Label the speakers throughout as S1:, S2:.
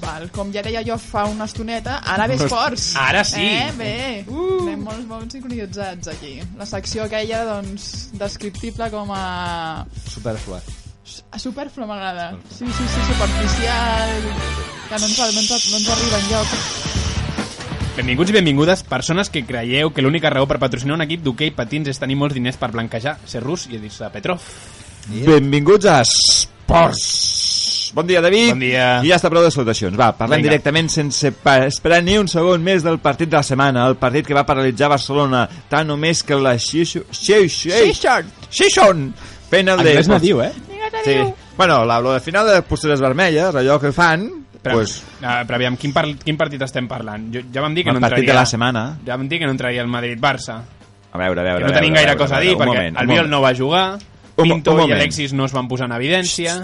S1: Val, com ja deia jo fa una estoneta, ara ve esports.
S2: Ara sí.
S1: Eh, bé. Uh. Anem molt bons sincronitzats aquí. La secció aquella, doncs, descriptible com a...
S3: Superflua.
S1: a Superflu m'agrada. Sí, sí, sí, superficial. Que no ens, no ens, no ens arriba enlloc.
S2: Benvinguts i benvingudes, persones que creieu que l'única raó per patrocinar un equip d'hoquei patins és tenir molts diners per blanquejar, ser rus i dir-se Petrov.
S3: Benvinguts a Esports. Bon dia, David.
S2: Bon dia.
S3: I ja està prou de salutacions. Va, parlem
S2: Vinga.
S3: directament sense pa- esperar ni un segon més del partit de la setmana, el partit que va paralitzar Barcelona, tant o més que la Xixo... Xixo...
S1: Seixard.
S3: Xixon! Fent el de...
S2: Anglès nadiu, eh?
S3: Sí. Bueno, la, la final de les posteres vermelles, allò que fan...
S2: Però,
S3: pues,
S2: pues... ah, però aviam, quin, par quin partit estem parlant? Jo, ja vam dir que
S3: el
S2: no
S3: partit
S2: entraria...
S3: de la setmana.
S2: Ja vam dir que no entraria el Madrid-Barça.
S3: A veure, a veure...
S2: Que
S3: a
S2: no
S3: veure,
S2: tenim
S3: a
S2: gaire
S3: veure,
S2: cosa a dir,
S3: veure, un
S2: perquè
S3: moment, un
S2: el Biol
S3: moment.
S2: no va jugar,
S3: Un mo-
S2: Pinto
S3: un
S2: i
S3: moment.
S2: Alexis no es van posar en evidència...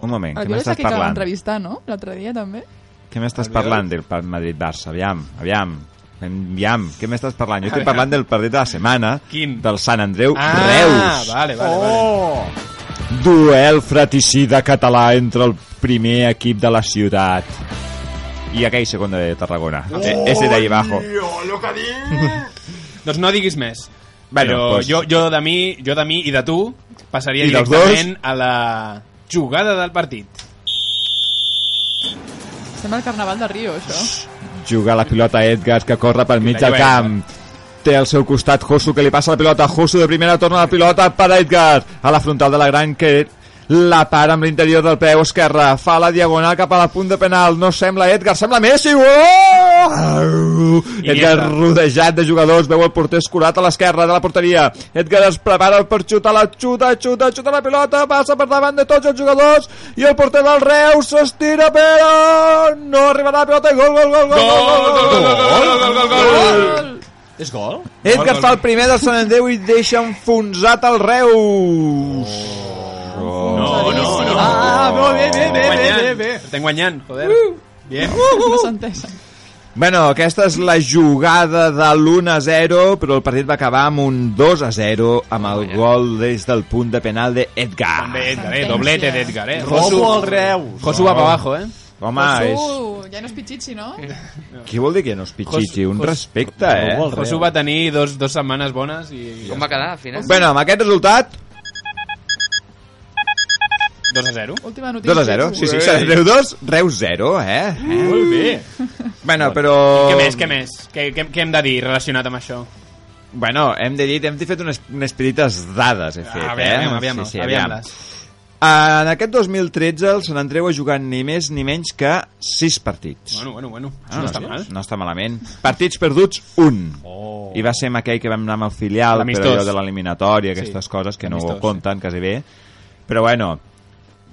S3: Un moment,
S1: El
S3: que
S1: Biol és
S3: m'estàs
S1: aquí que vam
S3: parlant?
S1: entrevistar, no? L'altre dia, també.
S3: Què m'estàs parlant del par- Madrid-Barça? Aviam, aviam. Aviam, què m'estàs parlant? Jo estic
S2: Aviam.
S3: parlant del partit de la setmana
S2: Quin?
S3: del Sant Andreu
S2: Ah,
S3: Reus.
S2: vale, vale, oh. vale.
S3: Duel fratricida català entre el primer equip de la ciutat i aquell segon de Tarragona. Oh, ese de ahí abajo.
S2: Doncs no diguis més.
S3: Bueno,
S2: però
S3: pues-
S2: jo, jo, de mi, jo de mi i de tu passaria
S3: I dels
S2: directament a la jugada del partit.
S1: Estem al Carnaval de Rio, això.
S3: Juga la pilota Edgar que corre pel mig
S2: La
S3: del
S2: lleva
S3: camp. Té al seu costat Josu que li passa la pilota. Josu de primera torna la pilota per Edgar. A la frontal de la gran que la para amb l'interior del peu esquerre. Fa la diagonal cap a la punt de penal. No sembla Edgar, sembla Messi. Oh! Edgar
S2: Iniesta.
S3: rodejat de jugadors. Veu el porter escurat a l'esquerra de la porteria. Edgar es prepara per xutar la xuta, xuta, xuta la pilota. Passa per davant de tots els jugadors. I el porter del Reus s'estira, però no arribarà la pilota. i Gol, gol, gol, gol, gol, gol, gol, gol, gol, gol, gol, gol, gol, gol, gol.
S4: És gol?
S3: Edgar fa el primer del Sant Andreu i deixa enfonsat el Reus.
S2: Oh. No, no, no.
S4: Ah, no, bé, bé, bé, bé, bé, bé.
S2: Estem guanyant, joder. Uh. Bien. Uh.
S1: No s'entesa.
S3: Bueno, aquesta és la jugada de l'1-0, però el partit va acabar amb un 2-0 amb el gol des del punt de penal de Edgar.
S2: També, Edgar, eh? Doblete d'Edgar, eh?
S4: Robo al Reus.
S2: Josu va pa abajo, eh?
S3: Oh, Home, és...
S1: Josu, ja no és Pichichi, no?
S3: Qui vol dir que no és Pichichi? Un
S2: Jos-
S3: respecte,
S4: Robo
S3: eh?
S4: al
S2: Josu
S4: Reus.
S2: va tenir dos, dos setmanes bones i...
S5: Com va quedar, al final?
S3: Bueno, amb aquest resultat,
S2: 2 a 0.
S1: Última notícia.
S3: 2 0. Sí, sí,
S2: Ei.
S3: Sant Andreu 2, Reus 0, eh?
S2: Molt bé.
S3: Bueno, però...
S2: Què més, què més? Què, què, què hem de dir relacionat amb això?
S3: Bueno, hem de dir, hem fet unes, unes petites dades, he fet, eh?
S2: Ah, aviam, aviam,
S3: sí, sí,
S2: aviam.
S3: aviam. En aquest 2013 el Sant Andreu ha jugat ni més ni menys que 6 partits.
S2: Bueno, bueno, bueno.
S3: Ah,
S2: Això no, està mal.
S3: No està malament. Partits perduts, un. Oh. I va ser amb aquell que vam anar amb el filial,
S2: L'amistós.
S3: però allò de l'eliminatòria, aquestes
S2: Sí.
S3: coses que no
S2: L'amistós,
S3: ho compten quasi bé. Però bueno,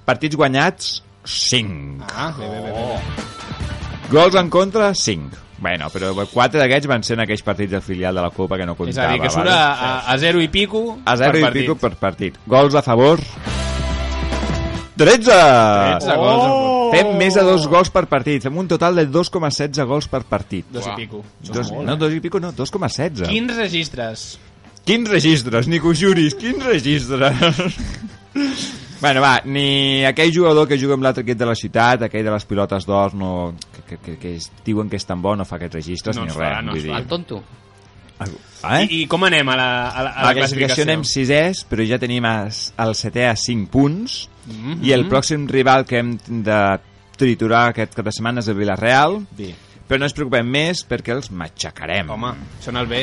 S3: partits guanyats, 5.
S2: Ah, bé, bé, bé. bé.
S3: Gols en contra, 5. Bueno, però 4 d'aquests van ser en aquells partits del filial de la Copa que no
S2: És
S3: comptava.
S2: a dir, que surt a,
S3: val?
S2: a, a 0 i pico
S3: A 0
S2: per
S3: i
S2: partit.
S3: pico per partit. Gols a favor... 13!
S2: 13 gols. Oh!
S3: Fem més de dos gols per partit. Fem un total de 2,16 gols per partit.
S2: Dos eh? i
S5: Uah.
S2: pico.
S3: Dos, no, dos i pico no, 2,16. Quin...
S2: Quins registres?
S3: quins registres, Nico Juris, quins registres. bueno, va, ni aquell jugador que juga amb l'altre equip de la ciutat, aquell de les pilotes d'or, no, que, que, que, que es diuen que és tan bo, no fa aquests registres
S2: No
S3: ni
S2: ens
S3: res.
S2: farà, no
S3: vull
S2: ens
S3: dir.
S5: El tonto.
S3: Eh?
S2: I, I com anem a la, a la, a la,
S3: la classificació anem sisès, però ja tenim a, el setè a 5 punts
S2: Mhm.
S3: i el pròxim rival que hem de triturar aquest cap de setmana és el Villarreal,
S2: Bé.
S3: però no ens preocupem més perquè els matxacarem.
S2: Home, són el B.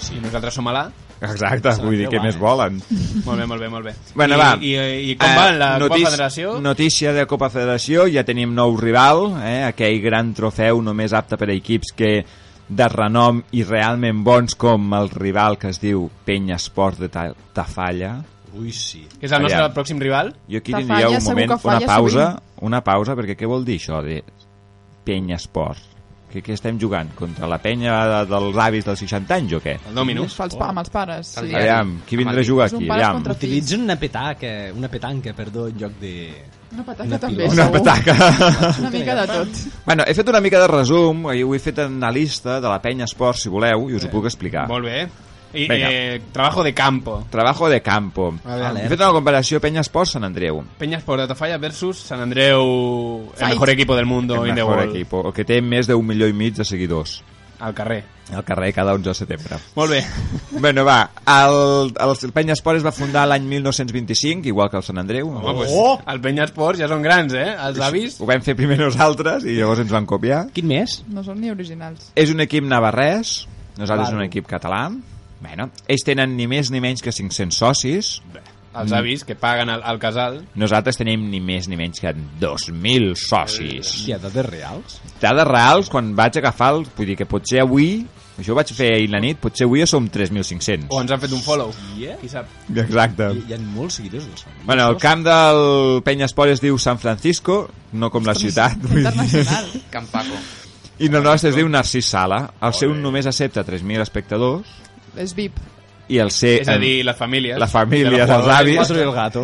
S2: Sí. I nosaltres som a l'A.
S3: Exacte, vull dir, què més volen?
S2: Molt bé, molt bé, molt bé.
S3: Bueno,
S2: eh? I,
S3: va. Eh,
S2: I, i, com va en la Copa Federació?
S3: Notícia de Copa Federació, ja tenim nou rival, eh? aquell gran trofeu només apte per a equips que de renom i realment bons com el rival que es diu Penya Esport de Ta Tafalla.
S4: Ui, sí.
S2: Que és el nostre
S3: Aviam.
S2: pròxim rival?
S3: Jo aquí
S1: Tafalla,
S3: tindria un
S1: segur
S3: moment,
S1: que
S3: una
S1: falla
S3: pausa, una pausa, perquè què vol dir això de penya esport? Que, que estem jugant? Contra la penya de, dels avis dels 60 anys o què?
S2: El Oh, Domino.
S1: Els fals, amb els pares, sí.
S5: Aviam.
S3: Aviam, qui vindrà a jugar
S1: Són
S3: aquí?
S1: pares
S3: Aviam.
S1: contra fills.
S4: Utilitzen una petaca, una petanca, perdó, en lloc de...
S1: Una
S4: Una
S1: pataca també, segur.
S4: pilota.
S3: Una petaca.
S1: Una mica de tot.
S3: bueno, he fet eh, una mica de resum, i ho he fet en una lista de la penya esport, si voleu, i us ho puc explicar.
S2: Molt bé. I,
S3: Vinga.
S2: eh, trabajo de campo.
S3: Trabajo de campo.
S2: A veure.
S3: He fet una comparació Penya Esports Sant Andreu.
S2: Peñas por Datafalla versus San Andreu, el
S1: Fight.
S2: mejor equipo del mundo
S3: el
S2: in the
S3: mejor
S2: world.
S3: equip, el que té més d'un milió i mig de seguidors
S2: Al carrer.
S3: al carrer cada 11 de setembre.
S2: Molt bé.
S3: bueno, va, el, el Penya Esports es va fundar l'any 1925, igual que el Sant Andreu.
S2: Home, pues, oh! el Penya Esports ja són grans, eh? Els avis...
S3: Ho vam fer primer nosaltres i llavors ens van copiar.
S2: Quin més?
S1: No són ni originals.
S3: És un equip navarrès, nosaltres
S4: Claro.
S3: un equip català. Bueno, ells tenen ni més ni menys que 500 socis, Mm.
S2: Els avis que paguen al, al casal.
S3: nosaltres tenim ni més ni menys que 2.000 socis.
S2: Eh,
S4: Hòstia, dades reals?
S3: Dades reals, quan vaig agafar el... Vull dir que potser avui... Això ho vaig fer ahir la nit, potser avui ja som 3.500.
S2: O ens han fet un follow.
S4: Yeah.
S2: Qui sap?
S3: Exacte.
S4: Hi, hi ha molts seguidors del Sant
S3: Bueno, el camp del Penya Esport es diu San Francisco, no com la ciutat. Vull dir.
S1: Internacional.
S5: Campaco.
S3: I no, no, es diu Narcís Sala. El seu només accepta 3.000 espectadors
S1: És VIP.
S3: i el C...
S2: És a dir, les famílies.
S3: Eh, la família,
S2: De la
S3: dels
S2: jugadora.
S3: avis.
S4: Cuatro i el gato.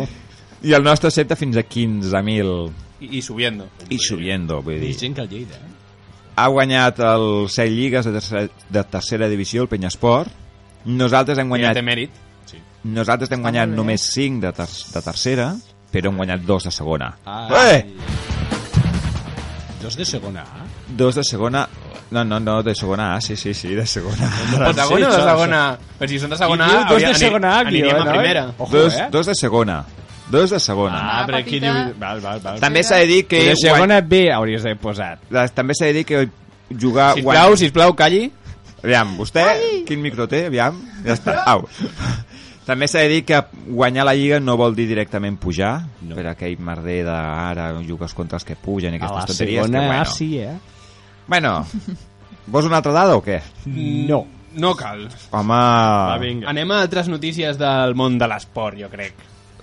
S3: I el nostre accepta fins a 15.000.
S2: I, I subiendo.
S3: I subiendo, vull
S4: Hi
S3: dir.
S4: ha gent que el lleida. eh?
S3: Ha guanyat el 7 lligues de tercera, de tercera divisió, el Penya Esport. Nosaltres hem
S2: Ja
S3: guanyat
S2: té mèrit.
S3: Nosaltres hem guanyat
S1: molt bé.
S3: només 5 de, ter de tercera, però hem guanyat dos de segona.
S4: Ai.
S3: Eh!
S4: Ah, Dos de segona A?
S3: Dos de segona... No, no, no, de segona A, sí, sí, sí, de segona A.
S2: O segona o de
S4: sí,
S2: segona A? Però si són de segona A,
S4: Diu dos
S2: hauria-
S4: de
S2: ani-
S4: segona A, aquí,
S2: aniríem
S4: eh,
S2: a
S4: noi?
S2: primera.
S4: Ojo,
S3: Dos,
S4: eh?
S3: dos de segona. Dos de segona.
S1: Ah, però aquí diu-
S4: Val, val, val.
S3: També s'ha de dir que...
S4: eh. De
S3: guany-
S4: segona B hauries d'haver posat.
S3: la- També s'ha de dir que jugar...
S2: Sisplau, sisplau, calli.
S3: Aviam, vostè, quin micro té, aviam, ja està, au. També s'ha de dir que guanyar la Lliga no vol dir directament pujar,
S4: No.
S3: no. per aquell merder de ara jugues contra els que pugen i
S4: A la
S3: aquestes tonteries.
S4: segona
S3: però
S4: A
S3: bueno.
S4: sí, eh?
S3: Bueno, vols una altra dada o què?
S4: No.
S2: No cal.
S3: Home...
S4: vinga.
S2: Anem a altres notícies del món de l'esport, jo crec.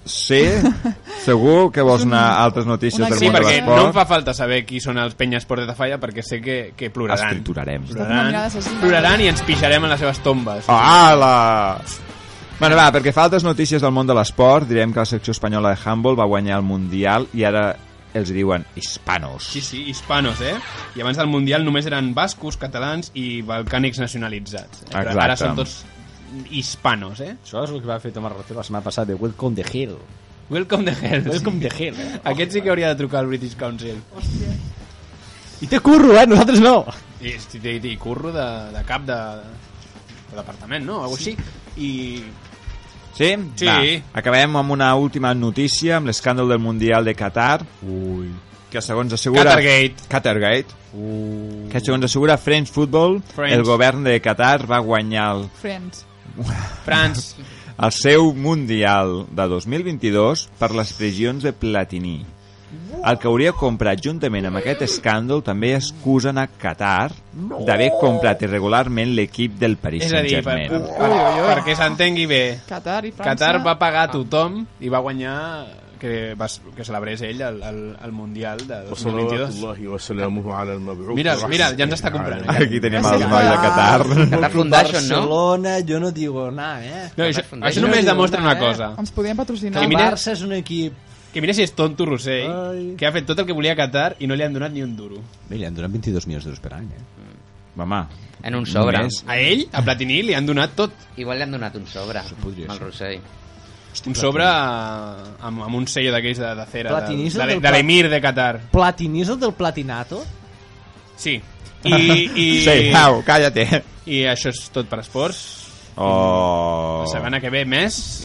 S3: Sí? Segur que vols anar a altres notícies
S1: una
S3: del
S2: Sí,
S3: món de
S2: perquè
S3: l'esport?
S2: no em fa falta saber qui són els penyes Esport de Tafalla perquè sé que, que ploraran.
S3: Escriturarem.
S1: Una
S2: Ploraran,
S1: mirada assassina.
S2: ploraran i ens pixarem en les seves tombes.
S3: Ah. Hola! Bueno, va, perquè fa altres notícies del món de l'esport, direm que la secció espanyola de handball va guanyar el Mundial i ara els diuen hispanos.
S2: Sí, sí, hispanos, eh? I abans del Mundial només eren bascos, catalans i balcànics nacionalitzats. Eh? Però
S3: Exacte.
S2: ara són tots hispanos, eh?
S4: Això és el que va fer Tomàs Rocío la setmana passada, de Welcome the Hill.
S2: Welcome to hell.
S4: Welcome the Hill, eh?
S2: Aquest sí que hauria de trucar al British Council.
S4: I té curro, eh? Nosaltres no.
S2: I, i, i, i curro de, de cap de, de departament, no? Algo així. I
S3: Sí?
S2: Sí.
S3: Va, acabem amb una última notícia, amb l'escàndal del Mundial de Qatar,
S4: Ui.
S3: que segons assegura...
S2: Qatargate.
S3: Qatargate.
S4: Ui.
S3: Que segons assegura French Football,
S2: French.
S3: el govern de Qatar va guanyar el
S1: Friends.
S2: France...
S3: el seu Mundial de 2022 per les pressions de Platini. El que hauria comprat juntament amb aquest escàndol també excusen a Qatar d'haver comprat irregularment l'equip del Paris
S2: És a dir, per, per,
S3: Saint-Germain.
S2: per, perquè s'entengui bé,
S1: Qatar i França.
S2: Qatar va
S4: Ah.
S2: pagar a tothom i va guanyar que, va, que celebrés ell el, el, el Mundial de 2022.
S6: الله وسلامه على المبعوث
S2: Mira,
S6: الرحمة
S2: mira, ja ens està comprant. eh?
S3: Aquí tenim el noi de Qatar.
S5: Qatar Foundation, no?
S4: Barcelona, jo no digo nada, eh?
S2: No, això, això només demostra una cosa.
S1: Ens podien patrocinar.
S2: Que
S4: El
S2: mira-
S4: Barça és un equip...
S2: Que mira si és tonto Rossell,
S4: Ai.
S2: que ha fet tot el que volia a Qatar i no li han donat ni un duro.
S4: Bé, li han donat 22 milions d'euros per any, eh?
S3: Home,
S5: En un sobre.
S3: Només.
S2: A ell, a Platini, li han donat tot.
S5: Igual li han donat un sobre.
S4: podria
S5: Al
S4: ser.
S5: Rossell.
S2: Un sobre eh, amb, amb un sello d'aquells de, de cera, de,
S4: Platini és el
S2: de,
S4: del
S2: de l'emir de Qatar.
S4: Platini és el del platinato?
S2: Sí. I, i,
S3: sí, au, calla't.
S2: i això és tot per esports.
S3: Oh.
S2: La setmana que ve més